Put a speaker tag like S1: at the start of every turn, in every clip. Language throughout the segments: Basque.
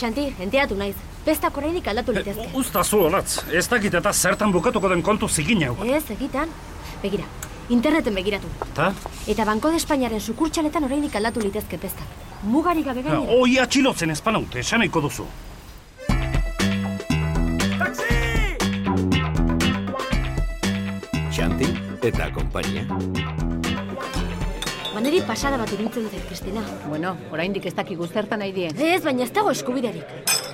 S1: Xanti, enteatu naiz. Bestak oraindik aldatu litezke.
S2: Usta zu olatz, ez dakit eta zertan bukatuko den kontu zigin hau.
S1: Ez, egitan. Begira, interneten begiratu.
S2: Ta?
S1: Eta Banko de Espainiaren sukurtxaletan oraindik aldatu litezke pestak. Mugarik gabe
S2: Ta,
S1: gainera.
S2: Oi atxilotzen espanaute, esaneko duzu.
S3: Xanti eta konpainia.
S1: Baneri pasada bat iruditzen zait, Kristina.
S4: Bueno, oraindik ez dakigu zertan nahi die.
S1: Ez, baina ez dago eskubiderik.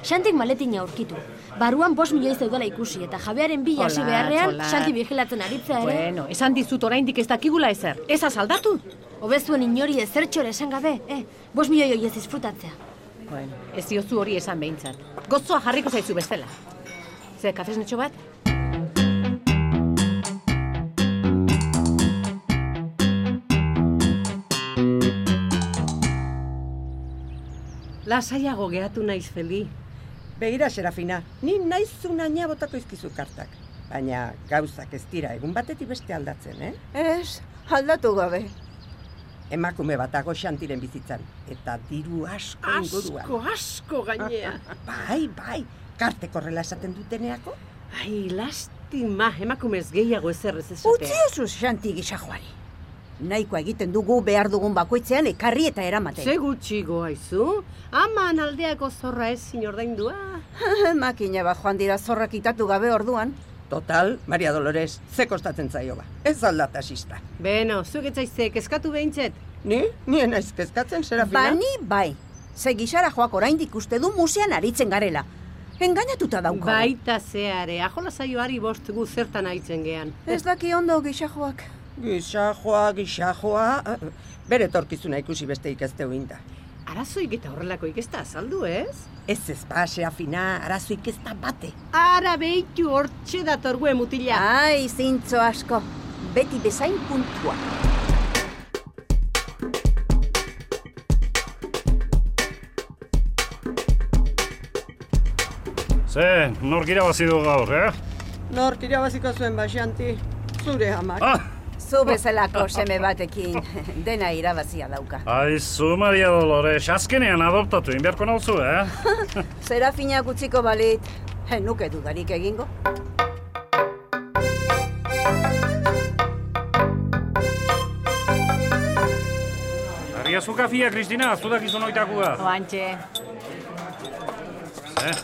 S1: Xantik maletina aurkitu. Barruan bost milioi zeudela ikusi eta jabearen bila hasi
S4: Olatz,
S1: beharrean
S4: olatz.
S1: Xanti vigilatzen aritzea ere.
S4: Bueno, esan dizut oraindik ez dakigula ezer. Ez azaldatu?
S1: Hobezuen inori ezertxore esan gabe, eh? Bost milioi horiez disfrutatzea.
S4: Bueno, ez diozu hori esan behintzat. Gozoa jarriko zaizu bestela. Zer, kafesnetxo bat?
S5: Lasaiago gehatu naiz feli. Begira, Serafina, ni naizun aina botako izkizu kartak. Baina gauzak ez dira egun batetik beste aldatzen, eh?
S6: Ez, aldatu gabe.
S5: Emakume batago xantiren bizitzan. Eta diru asko inguruan.
S6: Asko, asko gainea.
S5: Bai, bai, kartek horrela esaten duteneako.
S7: Ai, lastima, emakumez gehiago ezer ez
S8: Utzi
S7: esatea.
S8: oso xanti gisa joari. Nahikoa egiten dugu behar dugun bakoitzean ekarri eta eramaten.
S7: Ze gutxi goaizu? Aman aldeako zorra ezin ordaindua.
S8: Makina ba joan dira zorrak itatu gabe orduan.
S5: Total, Maria Dolores, ze kostatzen zaio ba. Ez aldata sista.
S7: Beno, zugetzaizte, kezkatu behintzet.
S5: Ni? Ni naiz kezkatzen,
S6: Ba,
S5: Serafina?
S8: Bani bai. Ze gisara joak oraindik uste du musean aritzen garela. Engainatuta dauka.
S4: Bai.
S7: Baita zeare, ajola zaioari bost gu zertan aitzen gean.
S8: Ez daki ondo gisa joak.
S5: Gisajoa, gisajoa... Bere torkizuna ikusi beste ikazte uinda.
S7: Arazoik eta horrelako ikesta azaldu ez?
S5: Ez ez ba, Serafina, arazoik ez da bate.
S7: Ara behitu hortxe dator gue mutila.
S8: Ai, zintzo asko. Beti bezain puntua.
S2: Ze, nork irabazi du gaur, eh?
S5: Nork irabaziko zuen ba, Xanti? Zure amak.
S2: Ah,
S8: Zu bezalako seme batekin dena irabazia dauka.
S2: aizu Maria Dolores, azkenean adoptatu inberko nauzu, eh?
S8: Serafina utziko balit, eh, nuke dudarik egingo.
S2: Arriazu kafia, Kristina, aztu dakizun oitakua.
S4: Oantxe.
S2: Eh?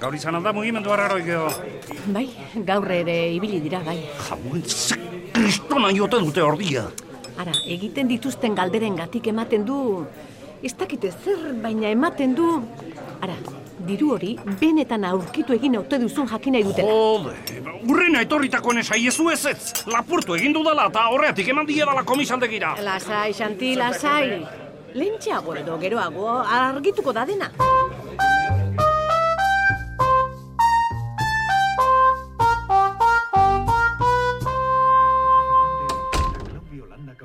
S2: Gaur izan alda mugimendu harraroik edo.
S4: Bai, gaur ere ibili dira, bai.
S2: Jauen, ze kristona jote dute ordia.
S4: Ara, egiten dituzten galderen gatik ematen du... Ez dakite zer, baina ematen du... Ara, diru hori benetan aurkitu egin haute duzun jakin nahi dutela.
S2: Jode, urrena etorritakoen esaiezu ez ez. Lapurtu egin dudala eta horretik eman diedala komisaldegira.
S4: Lasai, Xanti, lasai. Lentxeago edo geroago argituko da dena.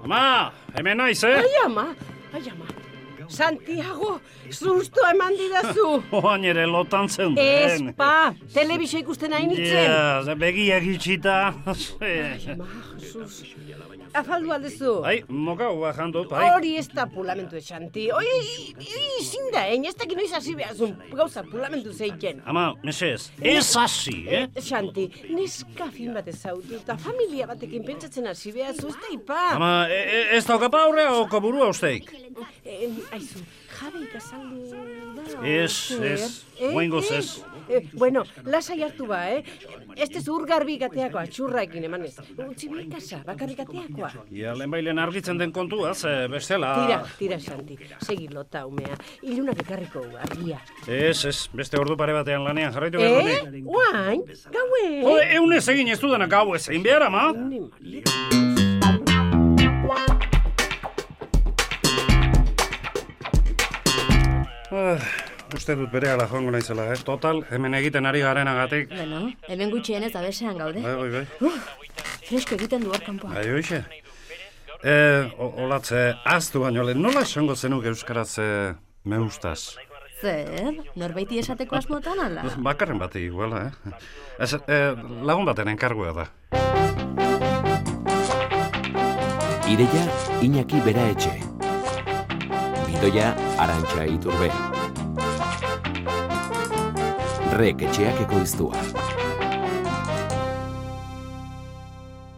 S2: Ama, hemen naiz, eh?
S7: Ai ama, ai ama. Santiago, susto eman didazu.
S2: Oan ere lotan zeuden.
S7: Ez, pa, telebisa ikusten hain itzen.
S2: Ja, ze begiak itxita.
S7: Ma, Jesus. Afaldu aldezu.
S2: Ai, mokau bajan dut, bai.
S7: Hori ez da pulamentu esanti. Hoi, izin da, hein, ez dakit noiz hasi behazun. Gauza pulamentu zeiken.
S2: Ama, mesez, ez hasi, eh?
S7: Xanti, neska fin bat ezautu, eta familia batekin pentsatzen hasi behazu, ez da ipa.
S2: Ama, e- e- ez daukapa aurrea oko burua usteik.
S7: Eh, aizu, jabe ikazaldu da.
S2: Ez,
S7: zer?
S2: ez,
S7: Eh,
S2: oingoz ez.
S7: Eh, bueno, lasai hartu ba, eh? Ez ez urgarbi gateakoa, txurraekin eman ez. Utsi behar kasa, bakarrik gateakoa.
S2: Ja, lehenbailen argitzen den kontua, ze bestela...
S7: Tira, tira, Xanti, segi lota umea. Ilunak ekarriko gu, argia.
S2: Ez, ez, beste ordu pare batean lanean jarraitu behar
S7: Eh?
S2: dut.
S7: Oain, gaue.
S2: Jo, eunez egin ez dudana gau ez egin behar, ama? Ah, uste dut bere ala joango naizela, eh? Total, hemen egiten ari garenagatik.
S1: Bueno, hemen gutxienez abesean gaude.
S2: Bai, bai, bai.
S1: Fresko egiten du hor kanpoan.
S2: Bai, hoxe. E, o- olatze, aztu baino lehen, nola esango zenuk euskaraz e, meustaz?
S1: Zer, norbaiti esateko asmotan ala?
S2: Bakarren bati iguala, eh? Ez, e, lagun baten enkargoa da.
S3: Ideia Iñaki Bera Etxe. Bidoia Arantxa Iturbe. Rek etxeak ekoiztua.